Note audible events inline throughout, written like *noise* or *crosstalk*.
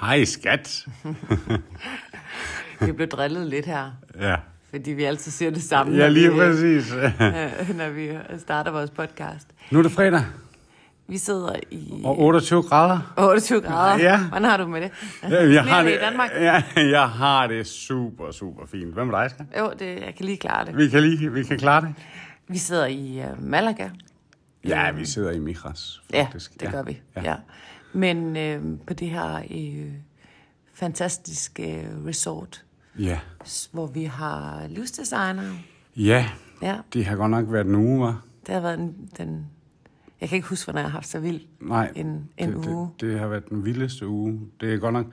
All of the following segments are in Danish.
Hej skat. Vi blev drillet lidt her, Ja, fordi vi altid siger det samme, ja når, lige vi, præcis. øh, når vi starter vores podcast. Nu er det fredag, Vi sidder i og 28 grader. 28 grader. Ja. Hvordan har du med det? Jeg Bliver har det det, i Danmark? ja, jeg har det super, super fint. Hvad med dig, skat? Jo, det, jeg kan lige klare det. Vi kan, lige, vi kan klare det. Vi sidder i øh, Malaga. Ja, vi sidder i Mikras, Ja, faktisk. det gør vi. Ja. Ja. Men øh, på det her øh, fantastiske øh, resort, Ja. s- hvor vi har livsdesignere. ja, Ja, det har godt nok været en uge, var. det har været den... den jeg kan ikke huske, hvornår jeg har haft så vild Nej, en, en det, uge. Det, det har været den vildeste uge. Det er godt nok...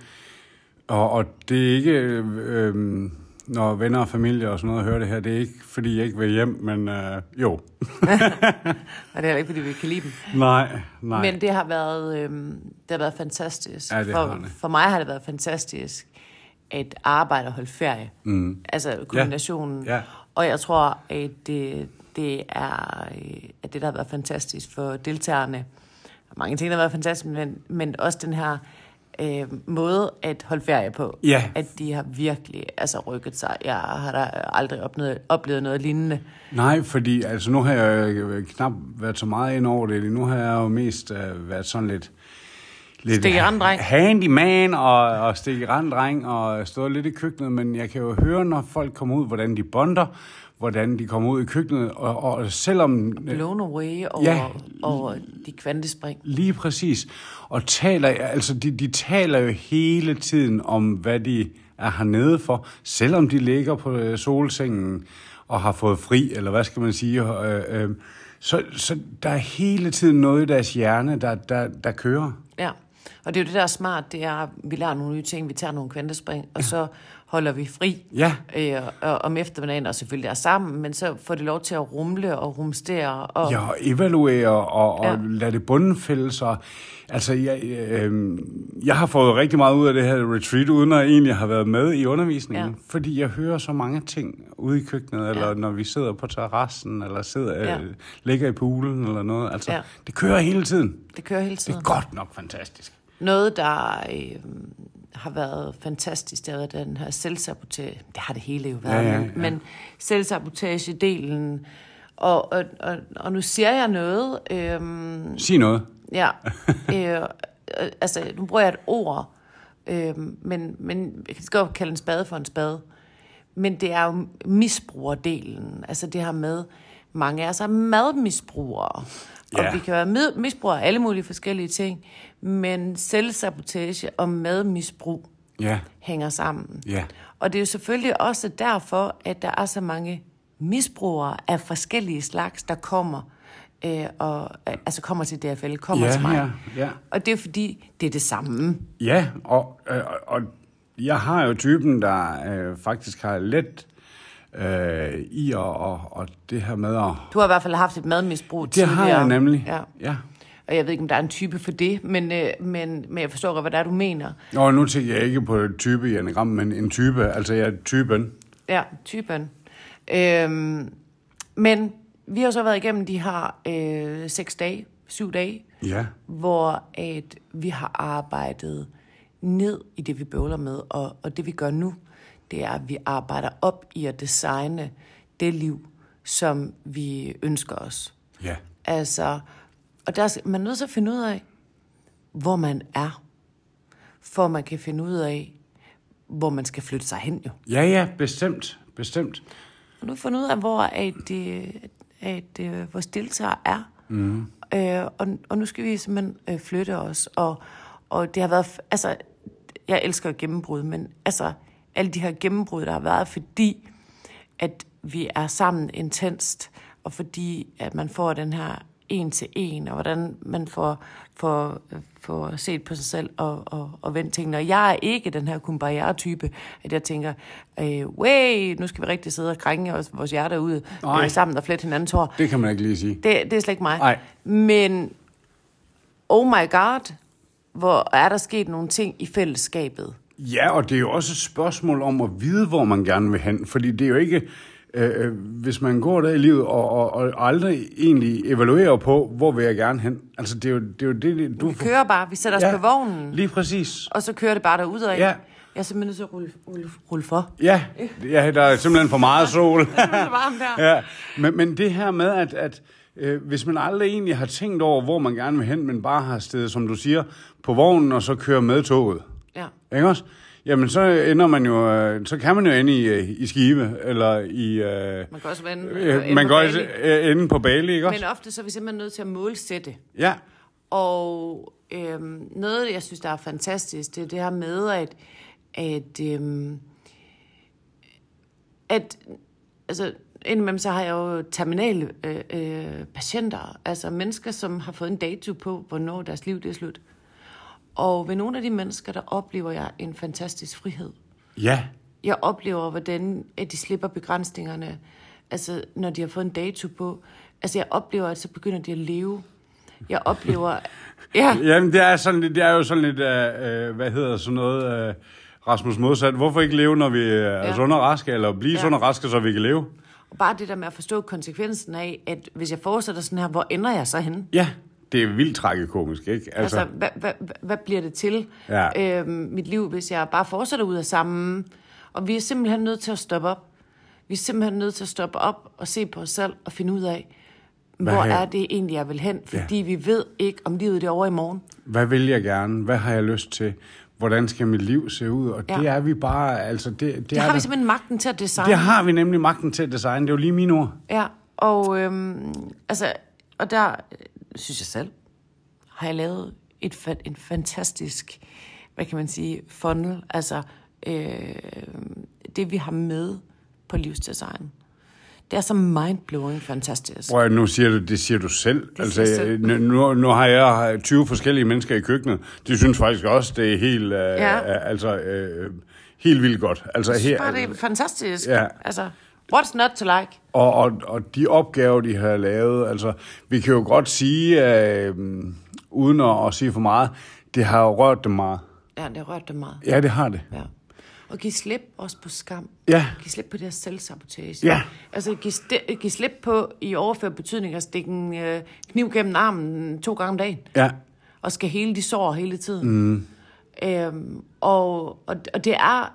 Og, og det er ikke... Øh, øh, når venner og familie og sådan noget hører det her, det er ikke, fordi jeg ikke vil hjem, men øh, jo. Og det er heller ikke, fordi vi kan lide dem. Nej, nej. Men det har været, øhm, det har været fantastisk. Ja, det for, har det. for mig har det været fantastisk at arbejde og holde ferie. Mm. Altså kombinationen. Ja. Og jeg tror, at det, det er øh, at det, der har været fantastisk for deltagerne. Mange ting, der har været fantastisk, men, men også den her øh, måde at holde ferie på. Ja. At de har virkelig altså, rykket sig. Jeg har da aldrig oplevet, oplevet noget lignende. Nej, fordi altså, nu har jeg øh, knap været så meget ind over det. Nu har jeg jo mest øh, været sådan lidt... lidt Stik i randen-dreng. ha- Handyman og, og stik i randdreng og stået lidt i køkkenet, men jeg kan jo høre, når folk kommer ud, hvordan de bonder, hvordan de kommer ud i køkkenet, og, og selvom... øh, Blown away over, Ja. over de kvantespring. Lige præcis. Og taler, altså de, de taler jo hele tiden om, hvad de er hernede for, selvom de ligger på øh, solsengen og har fået fri, eller hvad skal man sige. Øh, øh, så, så der er hele tiden noget i deres hjerne, der, der, der kører. Ja, og det er jo det, der er smart, det er, at vi lærer nogle nye ting, vi tager nogle kvantespring, og så holder vi fri Ja. øh, og, om eftermiddagen, og selvfølgelig er sammen, men så får det lov til at rumle og rumstere. Og, Ja, og evaluere og, og Ja. ja. lade det bundenfælde sig. Altså, jeg, øh, jeg har fået rigtig meget ud af det her retreat, uden at egentlig have været med i undervisningen. Ja. Ja. Fordi jeg hører så mange ting ude i køkkenet, eller når vi sidder på terrassen, eller sidder, Ja. ja. øh, ligger i poolen eller noget. Altså, Ja. ja. det kører hele tiden. Det kører hele Det tiden. er godt nok fantastisk. Noget, der øh, har været fantastisk, det har været den her selvsabotage. Det har det hele jo været, Ja, ja, men- ja. men selvsabotage-delen. Og, og, og, og nu siger jeg noget, øh, Sig noget. Ja. *laughs* Øh, øh, altså, nu bruger jeg et ord, øh, men, men jeg kan godt kalde en spade for en spade. Men det er jo misbrugerdelen. Altså det her med, mange af os er madmisbrugere. Og Ja. vi kan være med, misbrugere af alle mulige forskellige ting. Men selvsabotage og madmisbrug Ja, hænger sammen. ja. Og det er jo selvfølgelig også derfor, at der er så mange misbrugere af forskellige slags, der kommer, øh, og, øh, altså kommer til DFL, kommer Ja, til mig. ja, ja. Og det er fordi, det er det samme. Ja, og, øh, og- og jeg har jo typen, der øh, faktisk har let øh, i og, og, og det her med at Du har i hvert fald haft et madmisbrug Det har jeg nemlig. Ja. ja. Og jeg ved ikke, om der er en type for det, men, øh, men, men jeg forstår godt, hvad det er, du mener. Og nu tænker jeg ikke på type i anagram, men en type, altså jeg er typen. Ja, typen. Øhm, men vi har jo så været igennem de her øh, seks dage, syv dage, Ja. hvor at vi har arbejdet ned i det, vi bøvler med, og, og det vi gør nu, det er, at vi arbejder op i at designe det liv, som vi ønsker os. Ja. Altså, og der, skal- man er nødt til at finde ud af, hvor man er, for man kan finde ud af, hvor man skal flytte sig hen jo. Ja, ja, bestemt. Bestemt. Og nu har vi fundet ud af, hvor at, øh, at, at vores deltagere er. Mm. Øh, og, og nu skal vi simpelthen øh, flytte os. Og, og det har været... f- Altså, jeg elsker gennembrud, men altså, alle de her gennembrud, der har været, fordi at vi er sammen intenst, og fordi at man får den her en til en, og hvordan man får, får, får set på sig selv og, og, og vendt tingene. Og jeg er ikke den her kumbaya-type, at jeg tænker, øh, way, nu skal vi rigtig sidde og krænge os, vores hjerter ud Nej. øh, sammen og flette hinandens hår. Det kan man ikke lige sige. Det, det er slet ikke mig. Nej. Men, oh my god, hvor er der sket nogle ting i fællesskabet. Ja, og det er jo også et spørgsmål om at vide, hvor man gerne vil hen. Fordi det er jo ikke øh, hvis man går der i livet og, og, og aldrig egentlig evaluerer på, hvor vil jeg gerne hen? Altså, det er jo det, er jo det du... Vi kører bare, vi sætter os ja. Altså på vognen, Lige præcis. og så kører det bare derud af. Ja. Jeg er simpelthen nødt til at rulle, rulle, rulle for. Ja, ja, der er simpelthen for meget *laughs* sol. Det er så varmt der. ja. men, men det her med, at, at øh, hvis man aldrig egentlig har tænkt over, hvor man gerne vil hen, men bare har stedet, som du siger, på vognen og så kører med toget, Ja. ikke også? Jamen, så ender man jo, øh, så kan man jo ende i, øh, i Skive, eller i... Øh, Man kan også vende. øh, ende på man går Bali. også øh, inde på Bali, ikke også? Men ofte så er vi simpelthen nødt til at målsætte. Ja, Og øhm, noget, jeg synes, der er fantastisk, det er det her med, at, at, øhm, at altså, indimellem så har jeg jo terminale øh, øh, patienter, altså mennesker, som har fået en dato på, hvornår deres liv det er slut. Og ved nogle af de mennesker, der oplever jeg en fantastisk frihed ja, jeg oplever, hvordan at de slipper begrænsningerne, altså når de har fået en dato på. Altså jeg oplever, at så begynder de at leve. Jeg *laughs* oplever, ja, Jamen, det er, sådan, lidt- det er jo sådan lidt, øh, øh, hvad hedder sådan noget, øh, Rasmus modsat. Hvorfor ikke leve, når vi øh, er ja. Ja. sunde og raske, eller blive ja. Ja. sunde og raske, så vi kan leve? og bare det der med at forstå konsekvensen af, at hvis jeg fortsætter sådan her, hvor ender jeg så henne? Ja, det er vildt tragikomisk, ikke? Altså, Altså, altså hvad, hvad, hvad- hvad bliver det til Ja. øhm, mit liv, hvis jeg bare fortsætter ud af sammen? Og vi er simpelthen nødt til at stoppe op. Vi er simpelthen nødt til at stoppe op og se på os selv og finde ud af, Hvad hvor er- er det egentlig, jeg vil hen? Fordi vi ved ikke, om livet det er over i morgen. Altså, hvad vil jeg gerne? Hvad har jeg lyst til? Hvordan skal mit liv se ud? Og ja. Ja. det er vi bare, altså, det, det, Det er har vi der- simpelthen magten til at designe. det har vi nemlig magten til at designe. Det er jo lige mine ord. Ja, og, øhm, altså, og der, øh, synes jeg selv, har jeg lavet et, fa- en fantastisk, hvad kan man sige, funnel. Altså, øh, det vi har med på livsdesign. Det er så mindblowing fantastisk. Prøv at, nu siger du, det siger du selv. Det altså, siger jeg selv. nu- Nu, nu har jeg 20 forskellige mennesker i køkkenet. De synes faktisk også, det er helt, øh, ja. Ja. altså, øh, helt vildt godt. Altså, Jeg synes her, bare, det er fantastisk. Ja. Altså, what's not to like? og, og, og de opgaver, de har lavet, altså, vi kan jo godt sige, øh, uden at, at sige for meget, det har jo rørt dem meget. Ja, det rørte dig meget. Ja, det har det. Ja. Og give slip også på skam. Ja. Give slip på det her selvsabotage. Ja. Altså give, sti- give slip på i overført betydning at stikke en øh, kniv gennem armen to gange om dagen. Ja, Og skal hele de sår hele tiden. Mm. Øhm, og, og, og det er...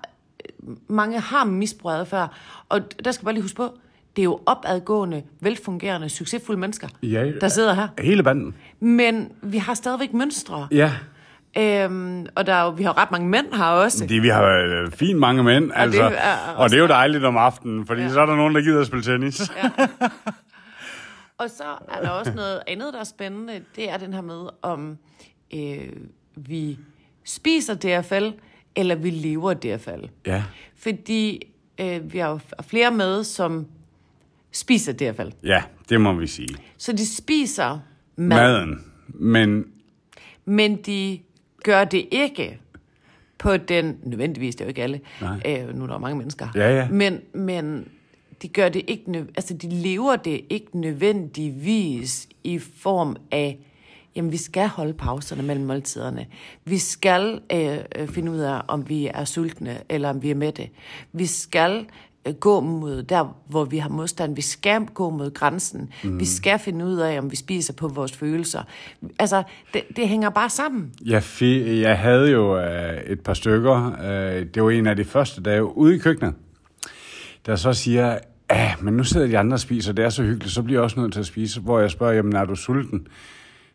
Mange har misbrugt før. Og der skal jeg bare lige huske på, det er jo opadgående, velfungerende, succesfulde mennesker, Ja. der sidder her. hele banden. Men vi har stadigvæk mønstre. Ja, Øhm, og der er jo, vi har jo ret mange mænd her også. det, vi har øh, fint mange mænd, altså, det er- og det er jo dejligt om aftenen, fordi ja. så er der nogen, der gider at spille tennis. Og så er der også noget andet, der er spændende. Det er den her med, om øh, vi spiser DFL, eller vi lever DFL. Ja, Fordi øh, vi har jo flere med, som spiser DFL. ja det må vi sige. Så de spiser mad, mad. Maden. Men men de gør det ikke på den... Nødvendigvis, det er jo ikke alle. Øh, nu er der jo mange mennesker. Ja, ja. Men, men de gør det ikke... nø- Altså, de lever det ikke nødvendigvis i form af... Jamen, vi skal holde pauserne mellem måltiderne. Vi skal øh, øh, finde ud af, om vi er sultne, eller om vi er mætte. Vi skal øh, gå mod der, hvor vi har modstand. Vi skal gå mod grænsen. Mhm. Mm. Vi skal finde ud af, om vi spiser på vores følelser. Altså, det, det hænger bare sammen. jeg, fi- jeg havde jo øh, et par stykker. Øh, det var en af de første dage ude i køkkenet, der så siger, ja, men nu sidder de andre og spiser, det er så hyggeligt, så bliver jeg også nødt til at spise. Hvor jeg spørger, jamen er du sulten?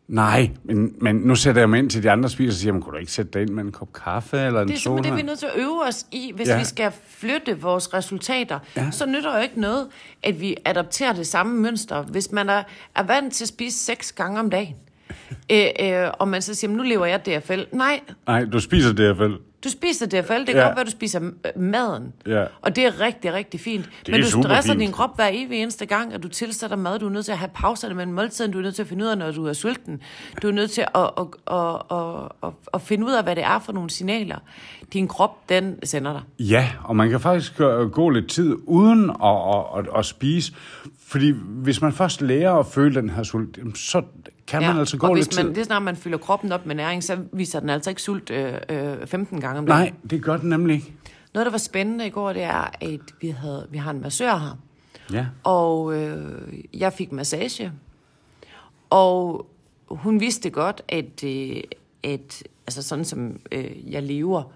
Nej, men, men nu sætter jeg mig ind til de andre og spiser og siger, jamen kunne du ikke sætte dig ind med en kop kaffe eller en Det er simpelthen det, vi er soda? nødt til at øve os i, hvis Ja. ja. vi skal flytte vores resultater. Ja. Så nytter jo ikke noget, at vi adopterer det samme mønster. Hvis man er, er vant til at spise seks gange om dagen, øh, øh, og man så siger, "Men nu lever jeg DFL. Nej, Nej, du spiser det i hvert fald. du spiser DFL. Det kan Ja. godt være, at du spiser øh, maden. Ja. Og det er rigtig, rigtig fint. er Men du superfint. stresser din krop hver evig eneste gang, at du tilsætter mad. Du er nødt til at have pauserne mellem måltiden. Du er nødt til at finde ud af, når du er sulten. Du er nødt til at, at, at, at, at, at finde ud af, hvad det er for nogle signaler, din krop den sender dig. Ja, og man kan faktisk gå gå lidt tid uden at, at, at, at spise. Fordi hvis man først lærer at føle den her sult, jamen, så kan man altså gå og lidt hvis man, tid. det snart man fylder kroppen op med næring, så viser den altså ikke sult øh, øh, 15 gange om dagen. Nej, det gør den nemlig ikke. Noget, der var spændende i går, det er, at vi, havde, vi har en massør her. Ja. Og øh, jeg fik massage. Og hun vidste godt, at, øh, at altså sådan som øh, jeg lever.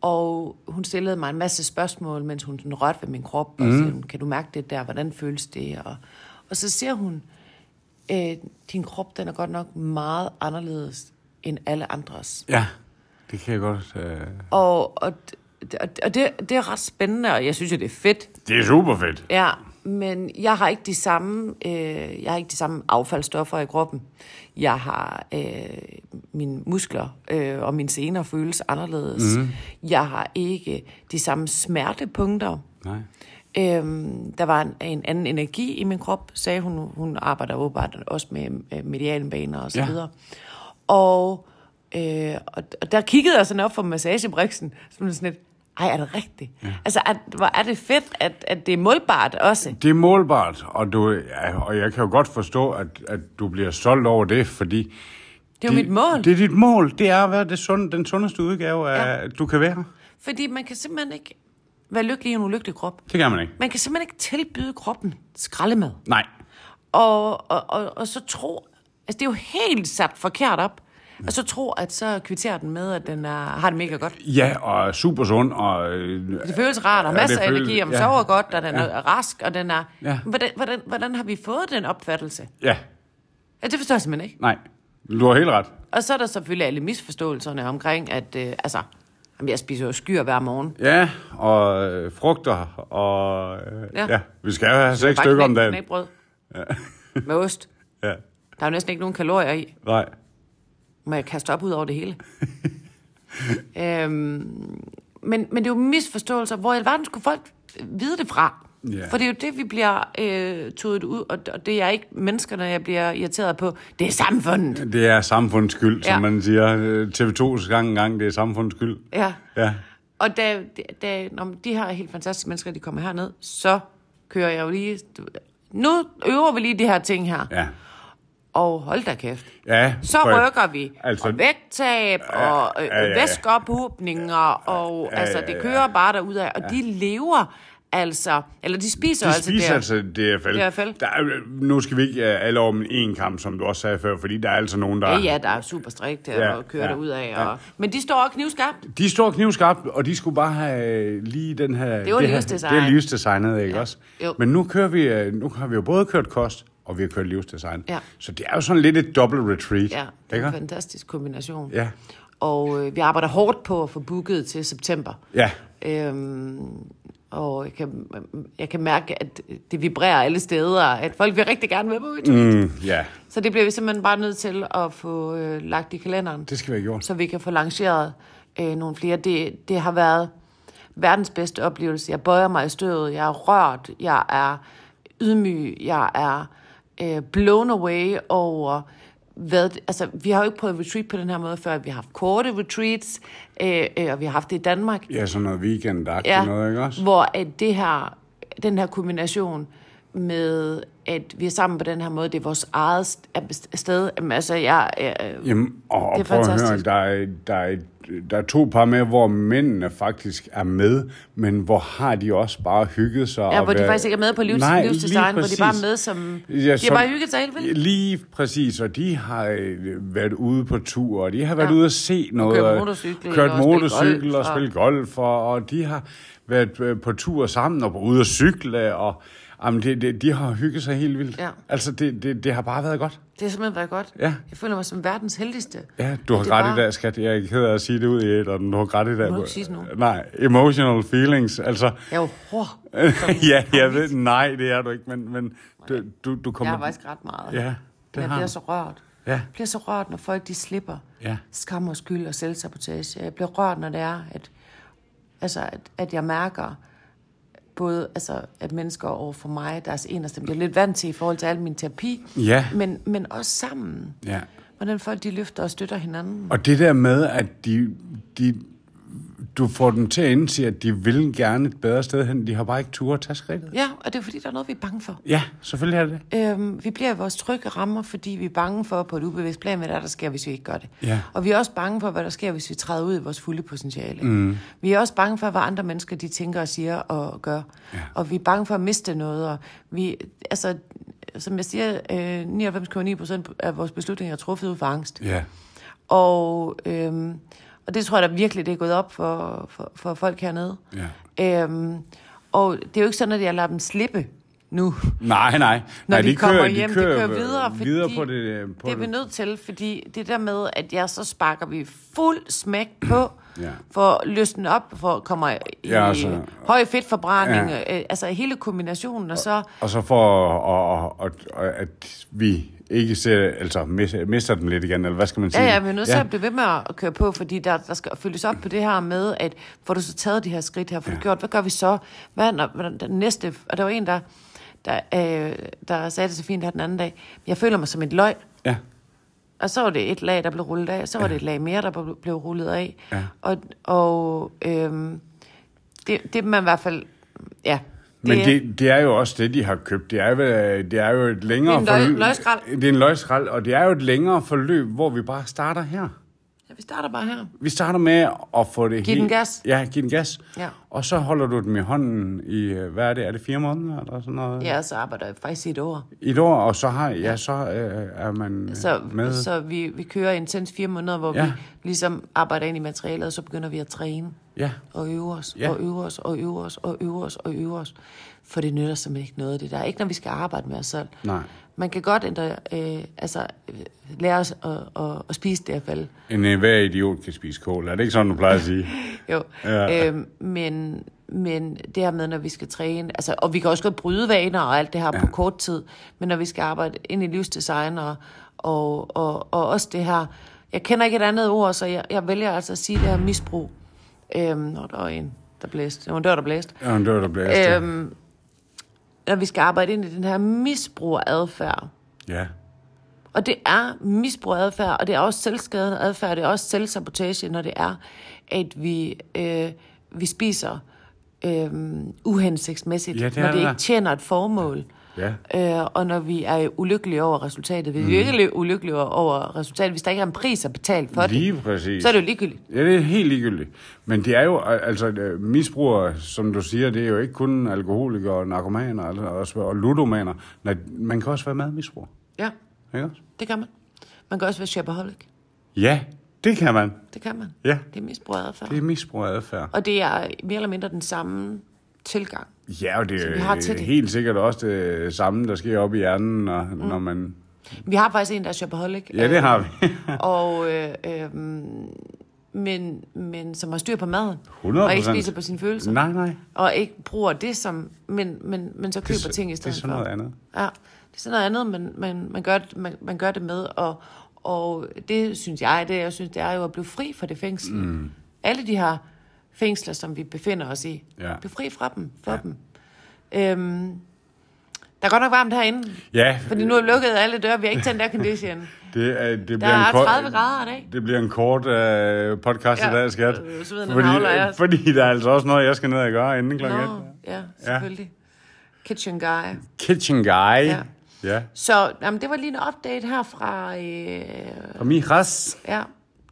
Og hun stillede mig en masse spørgsmål, mens hun sådan rørte ved min krop. Mm. Og sagde, kan du mærke det der? Hvordan føles det? Og, og så siger hun, øh, din krop den er godt nok meget anderledes end alle andres. Ja, det kan jeg godt. Øh... Og, og, og, og det, det er ret spændende, og jeg synes jo, det er fedt. Det er super fedt. Ja, men jeg har ikke de samme, øh, jeg har ikke de samme affaldsstoffer i kroppen. Jeg har øh, mine muskler øh, og mine sener føles anderledes. Mm. Jeg har ikke de samme smertepunkter. Nej. Øhm, der var en, en anden energi i min krop, sagde hun. Hun arbejder åbenbart også med øh, medialbaner og så Ja. videre. Og, øh, og, og der kiggede jeg sådan op for massagebriksen, som sådan lidt, ej, er det rigtigt? Ja. Altså, at, hvor er det fedt, at, at det er målbart også. Det er målbart, og, du, ja, og jeg kan jo godt forstå, at, at du bliver stolt over det, fordi... Det er jo mit mål. Det er dit mål. Det er at være det sund, den sundeste udgave, af, du kan være. Fordi man kan simpelthen ikke være lykkelig i en ulykkelig krop. Det kan man ikke. Man kan simpelthen ikke tilbyde kroppen skraldemad. Nej. Og, og, og, og så tro... Altså, det er jo helt sat forkert op. Og så tro, at så kvitterer den med, at den er, har det mega godt. Ja, og super sund, og... øh, Det føles rart, og Ja, masser det af føles- energi, og man ja. sover godt, og den er rask, og den er... Ja. Hvordan, hvordan, hvordan har vi fået den opfattelse? Ja, Ja, det forstår jeg simpelthen ikke. nej. Du har helt ret. Og så er der selvfølgelig alle misforståelserne omkring, at... Øh, altså, jamen, jeg spiser jo skyr hver morgen. Ja, og øh, frugter, og... Øh, Ja. ja. ja. Vi skal jo have seks Bare stykker om knæk- dagen. knækbrød med ost. Ja, Der er jo næsten ikke nogen kalorier i. nej. Må jeg kaste op ud over det *laughs* hele? øhm, men, men det er jo misforståelser. Hvor i alverden skulle folk vide det fra? Ja. For det er jo det, vi bliver øh, tudet ud, og, og det er ikke menneskerne, jeg bliver irriteret på. Det er samfundet. Det er samfundets skyld, ja. Ja. som man siger. Øh, TV2's gang engang, det er samfundets skyld. Ja. Ja, Og da, da når de her helt fantastiske mennesker, de kommer herned, så kører jeg jo lige... Nu øver vi lige de her ting her. ja. Og hold da kæft. ja Så for- rykker vi. Altså, altså- og vægttab, og øh, ja, ja, ja. væskeophobninger, og ja, altså, ja, det ja. kører bare derudad. Og de lever altså, eller de spiser De altså spiser der. altså DFL. DFL. Der er, nu skal vi ikke uh, alle over om en kamp, som du også sagde før, fordi der er altså nogen, der... Ja, ja, der er super strikt ja, Ja, og kører ja, ja, derudad. ja. Og, men de står også knivskarpt. De står knivskarpt, og de skulle bare have lige den her... Det var her, livsdesign. Det er livsdesignet, ikke Ja. ja. også? Jo. Men nu, kører vi, øh, nu har vi jo både kørt kost, og vi har kørt livsdesign. Ja. Så det er jo sådan lidt et dobbelt retreat. Ja, det er en ikke? fantastisk kombination. Ja. Og øh, vi arbejder hårdt på at få booket til september. Ja. Øhm, og jeg kan, jeg kan mærke, at det vibrerer alle steder, at folk vil rigtig gerne være på udtur. Mm, ja, Så det bliver vi simpelthen bare nødt til at få øh, lagt i kalenderen, det skal være gjort. så vi kan få lanceret øh, nogle flere. Det, det har været verdens bedste oplevelse. Jeg bøjer mig i støvet, jeg er rørt, jeg er ydmyg, jeg er øh, blown away over... Hvad, altså, vi har jo ikke prøvet retreat på den her måde før. Vi har haft korte retreats, øh, øh, og vi har haft det i Danmark Ja, sådan noget weekend ja. noget, ikke også? hvor at det her, den her kombination med, at vi er sammen på den her måde, det er vores eget st- sted. Jamen, altså, jeg, øh, Jamen, og, Det er og prøv at høre, fantastisk. der er, der, er, der er to par med, hvor mændene faktisk er med, men hvor har de også bare hygget sig. ja, og hvor de været- faktisk ikke er med på livs- Nej, lige livsdesign, hvor de bare er præcis. med som... Ja, de har som- bare hygget sig helt vildt. Lige præcis, og de har øh, været ude på tur, og de har været Ja. ja. ude at se noget. kørt og motorcykel, kørt og spillet motorcykel golf, og, og- spillet golf, og, og de har været øh, på tur sammen og ude at cykle, og jamen, det, det, de har hygget sig helt vildt. Ja. Altså, det, det, det har bare været godt. Det har simpelthen været godt. Ja. Jeg føler mig som verdens heldigste. Ja, du har Det ret er bare... bare- i dag, skat. Jeg er ikke ked af at sige det ud i et, og du har ret i dag. Må du ikke sige sådan noget? Nej, emotional feelings, altså... Jeg er jo hård. *laughs* ja, jeg ved, nej, det er du ikke, men, men du, du, du Jeg kommer... har faktisk ret meget. Ja, det det jeg har bliver du. så rørt. Ja. Jeg bliver så rørt, når folk de slipper Ja. skam og skyld og selvsabotage. Jeg bliver rørt, når det er, at, altså, at, at jeg mærker både altså, at mennesker over for mig, deres eneste, det er lidt vant til i forhold til al min terapi, Ja. men, men også sammen. Ja. Hvordan folk de løfter og støtter hinanden. Og det der med, at de, de, du får dem til at indse, at de vil gerne et bedre sted hen. De har bare ikke tur at tage skridtet. Ja, og det er fordi, der er noget, vi er bange for. Ja, selvfølgelig er det det. Øhm, vi bliver i vores trygge rammer, fordi vi er bange for på et ubevidst plan, hvad der, er, der sker, hvis vi ikke gør det. Ja. Og vi er også bange for, hvad der sker, hvis vi træder ud i vores fulde potentiale. Mm. Vi er også bange for, hvad andre mennesker de tænker og siger og gør. Ja. Og vi er bange for at miste noget. Og vi, altså, som jeg siger, øh, 99,9% af vores beslutninger er truffet ud fra angst. Ja. Og, øhm, og det tror jeg da virkelig, det er gået op for, for, for folk hernede. ja. Øhm, og det er jo ikke sådan, at jeg lader dem slippe nu. Nej, nej. Når nej, de kommer hjem, de kører videre, fordi øh, videre på det. øh, På det er vi det. nødt til, fordi det der med, at jeg så sparker vi fuld smæk på, Ja. for lysten op, for kommer i Ja, ja, altså. altså, høj fedtforbrænding, Ja. ja. øh, altså hele kombinationen, og så... Og så for og, og, og, og, at vi ikke ser, altså mis- mister den lidt igen, eller hvad skal man sige? Ja, ja, vi er nødt til at blive ved med at køre på, fordi der, der skal følges op på det her med, at får du så taget de her skridt her, får du Ja. gjort, hvad gør vi så? Hvad er når- hvad er den næste? Og der var en, der, der, øh, der sagde det så fint her den anden dag, jeg føler mig som et løg. Ja, Og så var det et lag, der blev rullet af, så var det et lag mere, der blev- blev rullet af. Ja. Og, og øhm, det, det man i hvert fald, ja. Men det, det er jo også det, de har købt. Det er, vel- det er jo et længere Det er en løg- forløb. løgskrald. Det er en løgskrald, og det er jo et længere forløb, hvor vi bare starter her. Ja, vi starter bare her. Vi starter med at få det Giv den helt- gas. Ja, giv den gas. Ja. Og så holder du dem i hånden i, øh, hvad er det, er det fire måneder eller sådan noget? Ja, så arbejder jeg faktisk i et år. I et år, og så, har, ja, så øh, er man øh, Så, med. så vi, vi kører intens fire måneder, hvor Ja. ja. vi ligesom arbejder ind i materialet, og så begynder vi at træne Ja, og øve os, Ja. ja. og øve os, og øve os, og øve os, og øve os. For det nytter simpelthen ikke noget af det der. Ikke når vi skal arbejde med os selv. Nej. Man kan godt ændre, øh, altså, øh, lære os at, at, at spise det i hvert fald. en øh, hver idiot kan spise kål. Er det ikke sådan, du plejer at *laughs* sige? Jo, Ja. ja. øhm, men, men det her med, når vi skal træne, altså, og vi kan også godt bryde vaner og alt det her ja. på kort tid, men når vi skal arbejde ind i livsdesign og, og, og, og også det her, jeg kender ikke et andet ord, så jeg, jeg vælger altså at sige det her misbrug. Øhm, når der var en, der blæste. Det var en dør, der blæste. Ja, men det var der blæste. Øhm. Øhm, når vi skal arbejde ind i den her misbrug af adfærd, Ja. og det er misbrug af adfærd, og det er også selvskadende adfærd, og det er også selvsabotage, når det er, at vi, øh, vi spiser øh, uhensigtsmæssigt, Ja, ja, det det er når det det ikke der. tjener et formål. Ja. Øh, og når vi er ulykkelige over resultatet. Hvis mm. vi ikke er ulykkelige over resultatet, hvis der ikke er en pris at betale for det, Lige præcis. så er det jo ligegyldigt. Ja, det er helt ligegyldigt. Men det er jo, al- altså øh, misbrugere, som du siger, det er jo ikke kun alkoholikere og narkomaner altså, og, også- og ludomaner. Nej, man kan også være madmisbruger, Ja, ikke også? det kan man. Man kan også være shopaholic. Ja, det kan man. Det kan man. Ja. Det er misbrug af adfærd. Det er misbrugeradfærd. Og det er mere eller mindre den samme tilgang. Ja, og det vi er har til det. helt sikkert også det samme, der sker op i hjernen, når, mm. når man... Vi har faktisk en, der er shopaholic. Ja, det har vi. *laughs* og øh, øh, men, men som har styr på maden. 100%. Og ikke spiser på sine følelser. Nej, nej. Og ikke bruger det som, men, men, men så køber så- det, ting i det er stedet sådan for. noget andet. Ja, det er sådan noget andet, man, man, man, gør, det, man, man gør det med. Og, og det synes jeg, det jeg synes, det er jo at blive fri fra det fængsel. Mm. Alle de her fængsler, som vi befinder os i. Ja. Blive fri fra dem, for ja. dem. Øhm, der er godt nok varmt herinde, Ja, fordi nu er lukket alle døre, vi har ikke tændt *laughs* aircondition. det, er, det Der bliver en er kort- 30 grader i dag. Det bliver en kort øh, podcast ja. Ja, i dag, skat. øh, så ved den fordi, navler, ja. fordi der er altså også noget, jeg skal ned og gøre inden klokken Nå, et. ja, selvfølgelig. Kitchen guy. Kitchen guy. Ja. ja. Så jamen, det var lige en update her fra... Øh, Og Mijas. ja,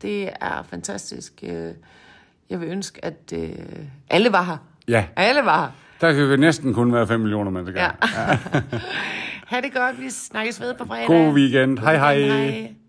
det er fantastisk. Øh, Jeg vil ønske, at øh, alle var her. Ja, Alle var her. der kan jo næsten kun være 5 millioner *laughs* mennesker. *laughs* Ja. ha' det godt. Vi snakkes ved på fredag. God weekend. Hej hej. hej. hej.